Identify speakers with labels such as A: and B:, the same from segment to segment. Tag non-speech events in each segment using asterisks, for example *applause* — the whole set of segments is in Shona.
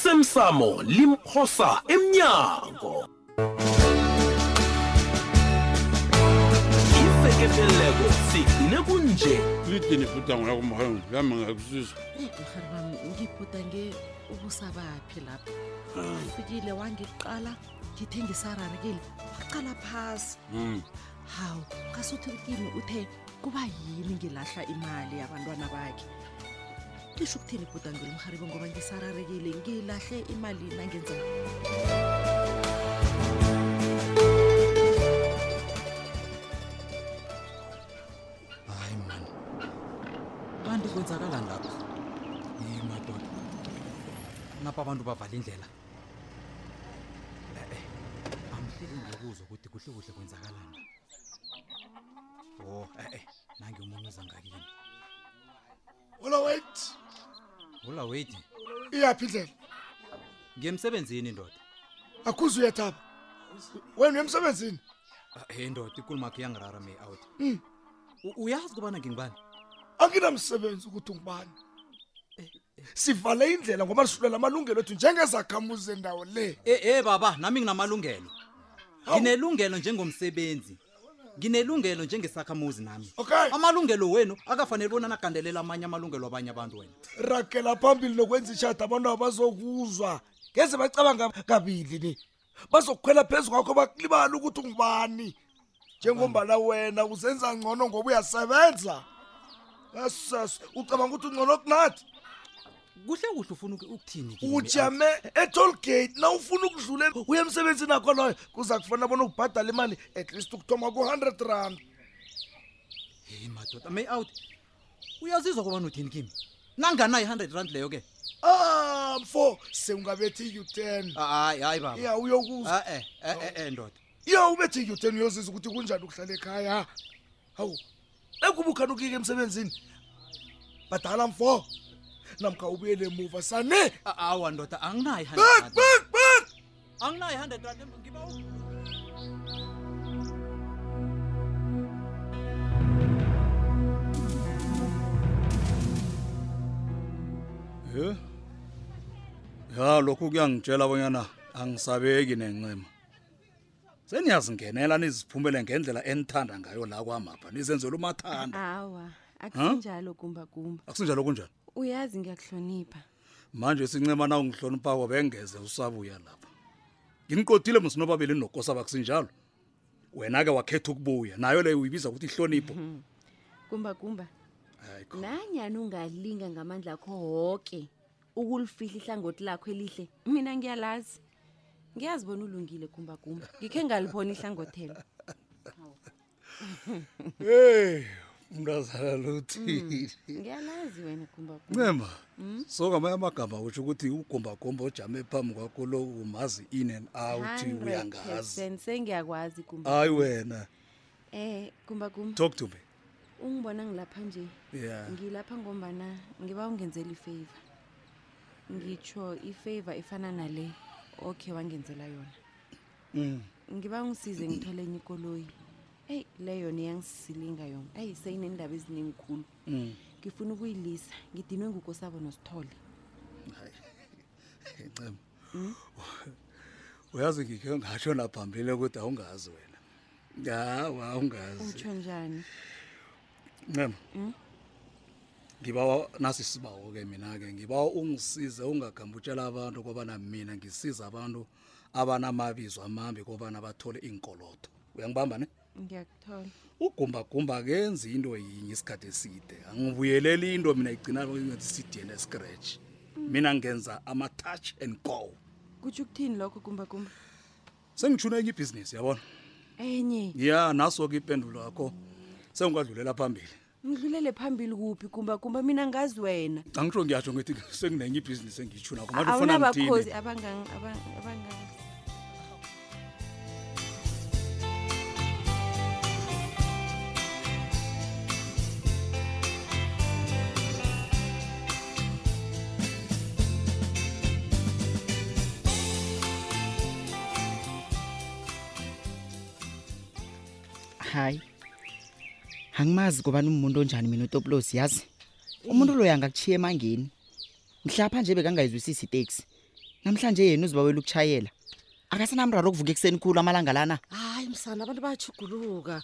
A: osemsamo limphosa emnyango iseketeleko sigcine kunje
B: lidini ibhudango yakho mhayo lami ngakusiza
C: eyi mhari wam ngibhudange ubusabaphi lapha ufikile wangiqala ngithe ngisararekile waqala phasi hawu ngasuthi kimi uthe kuba yini ngilahla imali yabantwana bakhe lisho ukuthini ibhudangelo mharibe ngoba ngisararekile ngilahle imali nangenza
D: hayi mani kanti kwenzakala ngapha ye madoda napha abantu bavala indlela e-e amhleli ngiyokuzwa ukuthi kuhle kuhle kwenzakalani o e-e nange umuntu ozangakini
E: ola wait
D: ula weti
E: iyaphi indlela
D: ngiyemsebenzini ndoda
E: akhuze uyadaba wena uyemsebenzini
D: e ndoda ikulumakho iyangirara may out U- uyazi kubana ngingibani
E: anginamsebenzi ukuthi ngubani sivale indlela ngoba sihlulela amalungelo ethu njengezakhamuzi zendawo le
D: e e baba nami nginamalungelo nginelungelo njengomsebenzi nginelungelo njengesakhamuzi nami
E: Okay.
D: amalungelo wenu akafanele bona nagandelela amanye amalungelo abanye abantu wena
E: ragela phambili nokwenza ishada abantu abazokuzwa ngeze bacabanga kabili ni bazokukhwela phezu kwakho bakulibale ukuthi ungubani njengombala wena uzenza ngcono ngoba uyasebenza esas ucabanga ukuthi ungcono kunathi
D: kuhle kuhle ufuna uku- ukuthini kimi?
E: ujame etolgate na ufuna ukudlula uye emsebenzini akho loyo kuza kufana bona ubhadale imali at least ukuthoma ku-100 rand
D: hey madoda may out uyazizwa kobani uthini kimi nanganayo i-hundred rand leyo ke
E: ah mfo sewungabethi u10
D: Ah, hayi hayi baba Ah, eh,
E: ya uyokuzwa
D: e-e e-e ndoda
E: ya ubethi u10 uyoziza ukuthi kunjani ukuhlala ekhaya hawu ekuba ukhani ukike emsebenzini badala mfo namkha ubuyele emuva sane
D: A- Ah, awa ndoda anginayo i-hundred
E: bak
D: rand.
E: bak bak
D: anginayo i-hundred rand ngiba
B: ye ya lokhu kuyangitshela bonyana angisabeki nencema seniyazingenela niziphumele ngendlela enithanda ngayo la kwamapha nizenzela umathanda
F: hawa akusinjalo gumbagumba
B: akusinjalo kunjani
F: uyazi ngiyakuhlonipha
B: manje sincema na ungihloniphako bengeze usabuya lapha nginiqodile msinobabili nokosa bakusinjalo wena-ke wakhetha ukubuya nayo leyo uyibiza ukuthi ihlonipho
F: gumbagumba
B: Hayi, kho-
F: nanyani ungalinga ngamandla akho woke ukulifihla ihlangothi lakho elihle mina ngiyalazi ngiyazibona ulungile gumbagumba ngikhe ngalibona
B: *laughs*
F: ihlangothelo
B: hey mntazana luthile
F: ngiyalazi wena gumbagumba
B: ncema so ngamanye amagama utsho ukuthi ugombagomba ojame phambi kwakho lo umazi in and out uyangazi
F: 100% sengiyakwazi gumba
B: hayi wena
F: eh gumbagumba
B: talk to me
F: ungibona ngilapha nje
B: Yeah.
F: ngilapha ngombana ngiba ungenzela ifavor ngitsho ifavor efana nale okay wangenzela yona
B: Mm.
F: ngiba ungisize ngithole enye ikoloyi eyi leyo neyangisilinga yona eyi seyinendaba ezinengikhulu
B: Mm.
F: ngifuna ukuyilisa ngidinwe ngukosabo nosithole
B: ncema uyazi ngikhe ngatsho naphambili ukuthi awungazi wena hawa awungazi
F: utsho njani
B: ncema ngibawa nasi isibawo-ke mina-ke ngibawa ungisize ungagambi utshela abantu kobana mina ngisiza abantu abanamabizo amambi kobana bathole iinkoloto uyangibamba ne
F: ngiyakuthola
B: ugumbagumba kenzi into yinye isikhathi eside angibuyeleli into mina igcina ngathi sidn scratch mina ngenza ama-touch and go
F: kutsho ukuthini lokho gumbagumba
B: sengitshuna enye ibhizinisi yabona
F: enye
B: ya naso-ke impendulo yakho sengingadlulela phambili
F: ngidlulele phambili kuphi gumbagumba mina ngazi wena
B: angitsho ngiyatsho ngithi senginenye ibhizinisi engiyitshunako manje ufuna
F: awunabakhozi
B: ngithini
F: abangang- abang- abangazi
G: hayi angimazi kobani umuntu onjani mina utopulosi yazi umuntu loyo angakuchiya emangeni mhlapha nje bekangayizwisisi iteksi namhlanje yena uzibawela ukutshayela akasenamraro okuvuka ekuseni khulu amalanga lana
C: hayi msana abantu bayajuguluka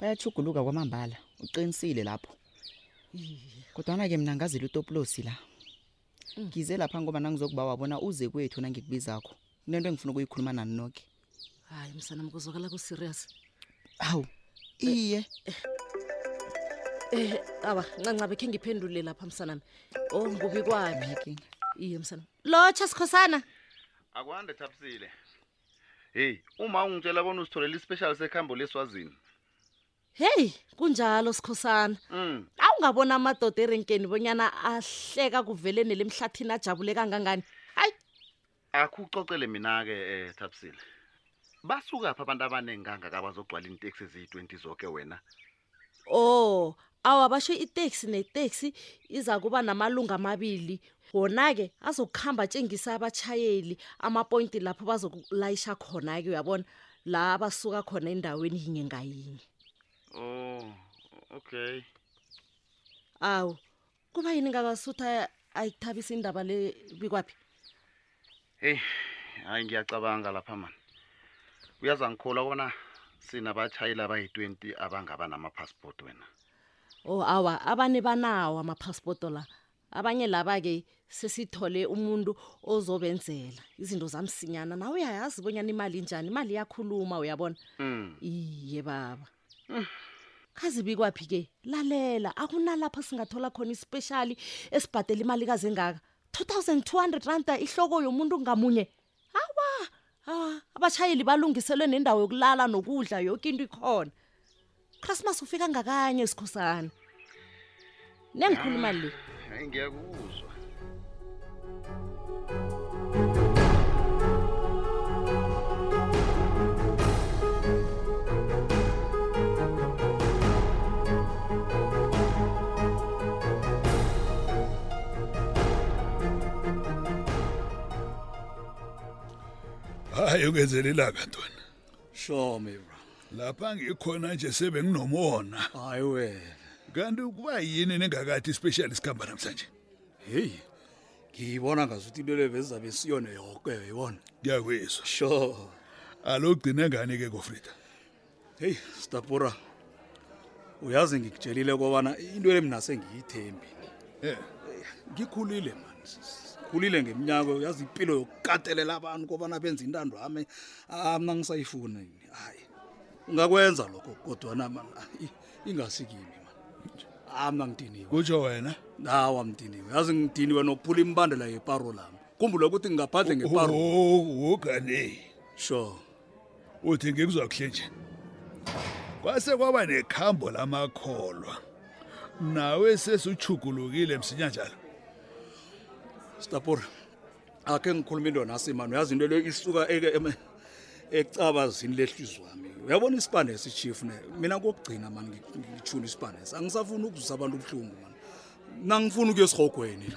G: bayachuguluka kwamambala uqinisile lapho kodwana-ke mna ngazile utopulosi la ngize lapha ngoba nangizokuba wabona uze kwethu nangikubizakho kunento engifuna ukuyikhuluma nani noke
C: hayi msana mkuzwakala kuserious
G: hawu iye
C: eh aba ncancabe khe ngiphendule lapha msanami oh ngubi kwami
G: Ngiyakinga.
C: iye msana lotsha sikhosana
H: akwande thapsile heyi uma ungitshela bona usitholele ispecial sekhambo leswazini
C: heyi kunjalo sikhosana
H: um
C: awungabona amadoda erenkeni bonyana ahleka kuvele nele emhlathini ajabule kangangani hayi
H: akucocele mina-ke um thapsile basukaphi abantu abanengangaka abazogcwala iinteksi eziyi-twenty zonke wena
C: oh awa basho iteksi neteksi iza kuba namalunga amabili wona-ke azokuhamba atshengisa abatshayeli amapointi lapho bazokulayisha khona-ke uyabona la abasuka khona endaweni yinye ngayinye
H: oh okay
C: awu kuba yini ngakasutha ayithabisa indaba le bikwaphi
H: heyi hhayi ngiyacabanga lapha mani uyaza ngikholwa bona sinabatshayeli abayi-twenty abangaba namapasipoti wena
C: o Oh, awa abane banawo amaphasipoto la abanye laba-ke sesithole umuntu ozobenzela izinto zamsinyana nawe uyayazi bonyana imali njani imali iyakhuluma uyabona
H: um
C: iye baba khazibi kwaphi-ke lalela akunalapha singathola khona ispeshali esibhadela imali kazengaka 2200 randa ihloko yomuntu ngamunye awa awa abatshayeli balungiselwe nendawo yokulala nokudla yoke into ikhona christmas ufika ngakanye esikhosana nengikhuluma le
H: hayi ngiyakuzwa
I: hayi ukwenzelelaka ntwana
B: sure mira
I: lapha ngikhona nje sebenginomona
B: hayi wena
I: kanti kuba yini nengakathi ispecial isikhamba namhlanje
B: heyi ngiyibona ngasuthi into le bezizabe siyone yoke yona
I: ngiyakwizwa
B: sure
I: alogcine ngani ke gofrida
B: heyi stapura uyazi ngikutshelile kobana into le mina sengiyithembi
I: Eh,
B: ngikhulile mani khulile ngeminyaka uyazi impilo yokukatelela abantu kobana benze intando ami ah, mna ngisayifuni hayi ungakwenza lokho kodwana man ingasikimi mani ah mna ngidiniwe
I: kutsho wena
B: nawa mdiniwe yazi ngidiniwe nokuphula imbandela yeparo lami kumbula ukuthi ngingabhadle ngeparo
I: ugane
B: sure
I: uthi ngikuzwa kuhle nje kwase kwaba nekhambo lamakholwa nawe sesuchugulukile msinya njalo
B: stapura akhe ngikhuluma into nasi mani uyazi into le isuka eke- eme- ecabazini lehlizwe wami uyabona isipande esichief ne mina kokugcina mani ngi- ngithuna isipande esi angisafuni ukuzwisa abantu ubuhlungu mani nangifuna ukuya esihogweni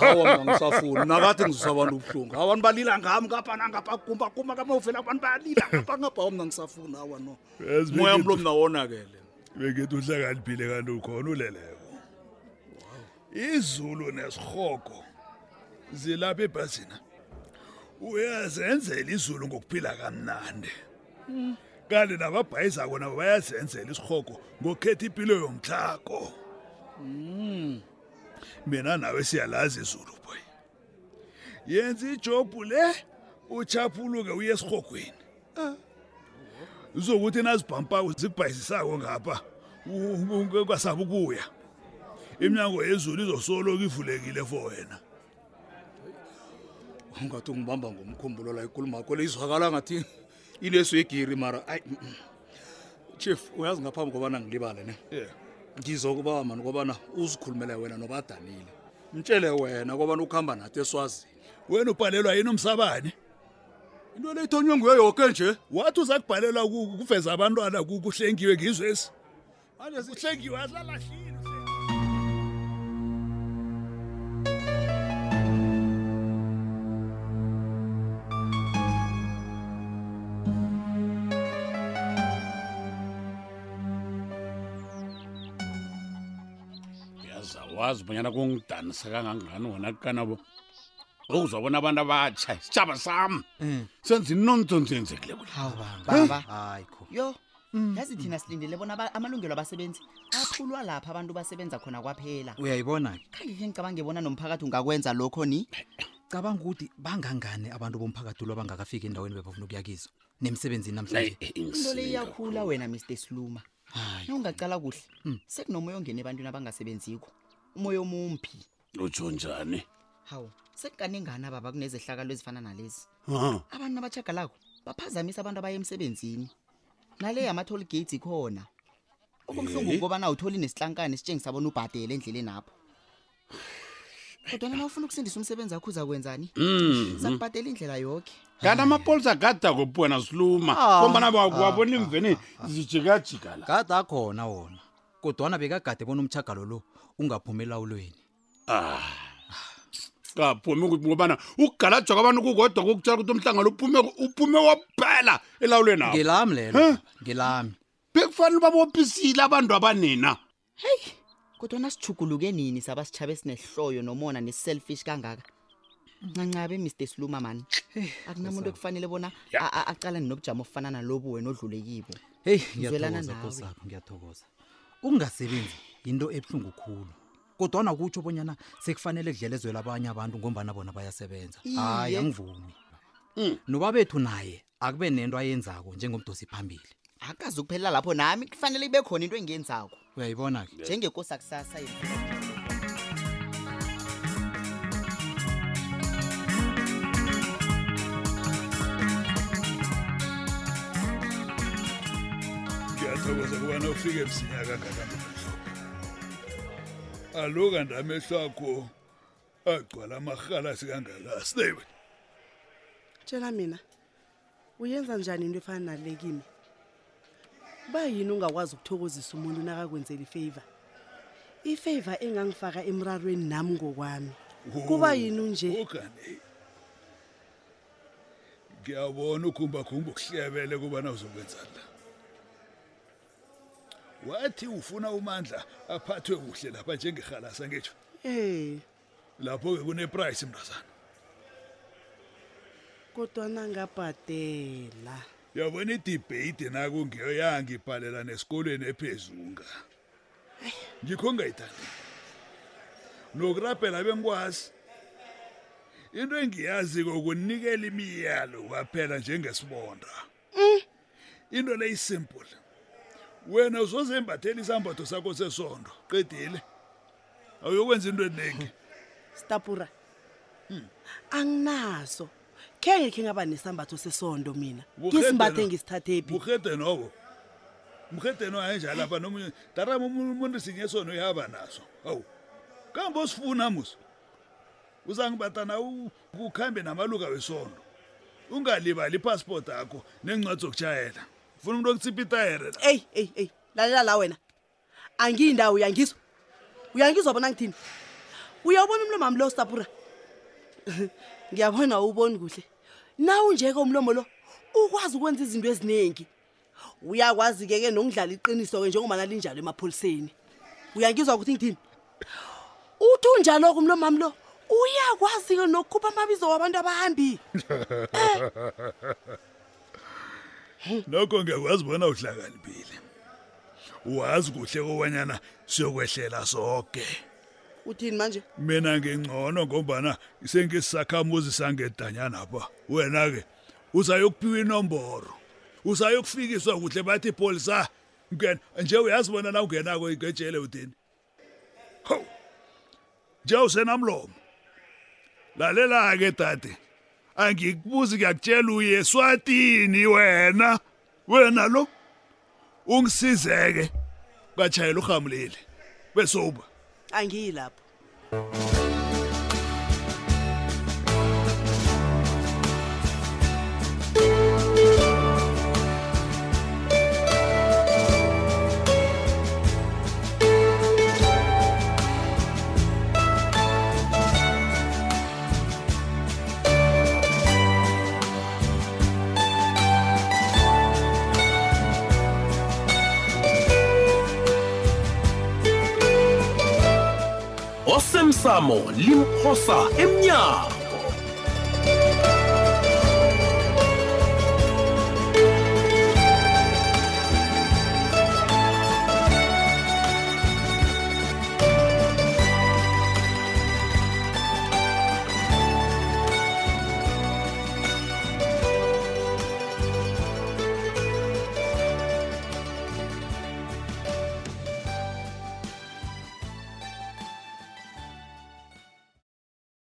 B: hawa mna ngisafuni nakathi ngizwisa abantu ubuhlungu abantu balila ngami ngapha nangapha kumba kuma kama uvela abantu bayalila ngapha ngapha mna ngisafuni hawa no
I: Yazi
B: moya
I: bengithi-
B: mlo mna wonakele
I: bengithi uhlakaniphile kanti ukhona uleleko izulu nesihogo zilapha ebhazina uyazenzela izulu ngokuphila kamnandi kanti nababhayizako nabo bayazenzela isihogo ngokukhetha impilo yomtlako mina nawe siyalazi izulu boy yenza ijobhu le uchaphuluke uye esihogweni zokuthi nazibhampako zikubhayisisako ngapha kwasaba ukuya iminyango yezulu izosoloku ivulekile for wena
B: ungathi ungibamba ngomkhumbulo la ikhuluma kho le izwakala ngathi ineso igiri mara ayi mm, mm. chief uyazi ngaphambi kobana ngilibale ne ngizokubawa mani kobana uzikhulumele wena nobadanile mtshele wena kobana ukuhamba nathi eswazini
I: wena ubhalelwa yini umsabane
B: into le ithonywe nguye yoke nje
I: wathi uza kubhalelwa ku- kuveza abantwana ku- kuhlengiwe ngizwesi manje sihlengiwe ahlalahlile
J: uyazawazi bonyana kungidanisa kangangani wona kanabo
I: uzobona abantu abatsha isitshaba sam
D: Eh.
I: senza inonsense yenzekile
G: hawu baba
D: hayi kho
G: yo yazi thina silindele bona aba- amalungelo abasebenzi aphulwa lapha abantu basebenza khona kwaphela
D: uyayibona ke
G: khangeke ngicabange bona nomphakathi ungakwenza lokho ni
D: cabanga ukuthi bangangani abantu bomphakathi lo bangakafiki endaweni bebafuna ukuya kizo nemsebenzini namhlanje
G: into le iyakhula wena mr sluma
D: hayi
G: nawungacala kuhle sekunomoya ongena ebantwini abangasebenzikho umoya omumbi
I: utsho njani
G: hawu sekukanengana baba kunezehlakalo ezifana nalezi
I: Ah,
G: abantu abachagalako baphazamisa abantu abaya emsebenzini nale yama-toll gates ikhona okumhlungu
I: Eh?
G: ukobana awutholi nesihlankane sitshengisa bona ubhadele endleleni apho kodwana na ufuna ukusindisa umsebenzi wakho uzakwenzani
I: mhm.
G: sakubhadela indlela yoke
I: kanti amapolisa agada kuphi wena siluma
D: Ah,
I: kombana wabona imveni zijikajika la
D: kade akhona wona kodwana bekagade bona umchagalo lo ungaphumi elawulweni
I: kaphumi ukuthi ngobana ukugalajwa kwabantu kukodwa kokutshela ukuthi umhlangano uphume uphume wophela elawulweni abo
D: ngelami lelo
I: Huh?
D: ngelami
I: bekufanele babophisile abantu abanina
G: kodwana sijuguluke nini saba sitshaba esinehloyo nomona nesi-selfish kangaka ncancabe mr sluma mani akunamuntu ekufanele bona a- a- aqalane nobujamo obufana nalobu wena odlule kibo
D: heyi
G: Ngizwelana
D: ngiyathokoza
G: nawe.
D: kosapho ngiyathokoza ukungasebenzi yinto ebuhlungu khulu kodwana kutsho bonyana sekufanele kudlelezwela abanye abantu ngombana bona bayasebenza hayi
G: Iye. Mm.
D: angivumi noba bethu naye akube nento ayenzako njengomdosi phambili
G: akazi ukuphelela lapho nami kufanele ibe khona into engiyenzako
D: uyayibona ke
G: njengekosi akusasa yethu
B: ngiyathokoza kubana ufike msinya kangakamehlo aluka ndamehlo akho agcwala amarhalasi kangaka sinewe
C: tshela mina uyenza njani into efana nale kimi uba yini ungakwazi ukuthokozisa umuntu nakakwenzela ifavor ifavor engangifaka emrarweni nami ngokwami kuba yini unje
B: okane ngiyabona ukhumbakhumba ukuhlebele kubana uzokwenzani la wathi ufuna umandla aphathwe kuhle lapha njengerhalasa ngetsho
C: Eh,
B: lapho-ke kuneprayisi mntazana
C: kodwana ngabhadela
B: yabona idibheyidi nakungiyo yangibhalela nesikolweni ephezunga ngikho ngayithandi nokurabhela bengikwazi into engiyaziko kunikela imiyalo kwaphela njengesibonda into le isimple wena uzozembathela isambatho sakho sesondo qedile awuyokwenza into eningi
C: stapura anginaso khe ngekhe ngaba nesambatho sesondo mina ngisimbathe ngisithathe phi
B: buhede nobo mhede no ayenjalo apha nomunye darama umuntu sinye sona uyaba naso awu kambe osifuna musa uzangibata na ukukhambe namaluka wesondo ungalibali ipassport yakho neencwadi zokutshayela ufuna umuntu okutsipha itayere la
C: eyi eyi eyi lalela la wena angiyindawo uyangizwa uyangizwa bona ngithini uyawubona umlomo wami lo sapura *laughs* ngiyabona uwuboni kuhle nawu njeke umlomo lo ukwazi ukwenza izinto eziningi uyakwazi-ke ke nokudlala iqiniso-ke njengobana linjalo emapholiseni uyangizwa ukuthi ngithini uthi unjalo-ke umlomo wami lo uyakwazi-ke nokukhupha amabizo wabantu abahambi
B: nokho ngiyakwazi bona uhlakaniphile wazi kuhle kobanyana siyokwehlela soke
C: uthini manje
B: mina ngingcono ngombana sengisakhamuzi sangedanyanapha wena-ke uzayokuphiwa inomboro uzayokufikiswa kuhle bathi polisa ngena nje uyazi bona na ungenako ngejele udini ho nje usenamlomo lalela-ke dade angikubuzi ngiyakutshela uye eswatini wena wena lo ungisizeke ngatshayela uhamulile besouba
C: angiyi lapho
K: osemsamo limphosa emnyango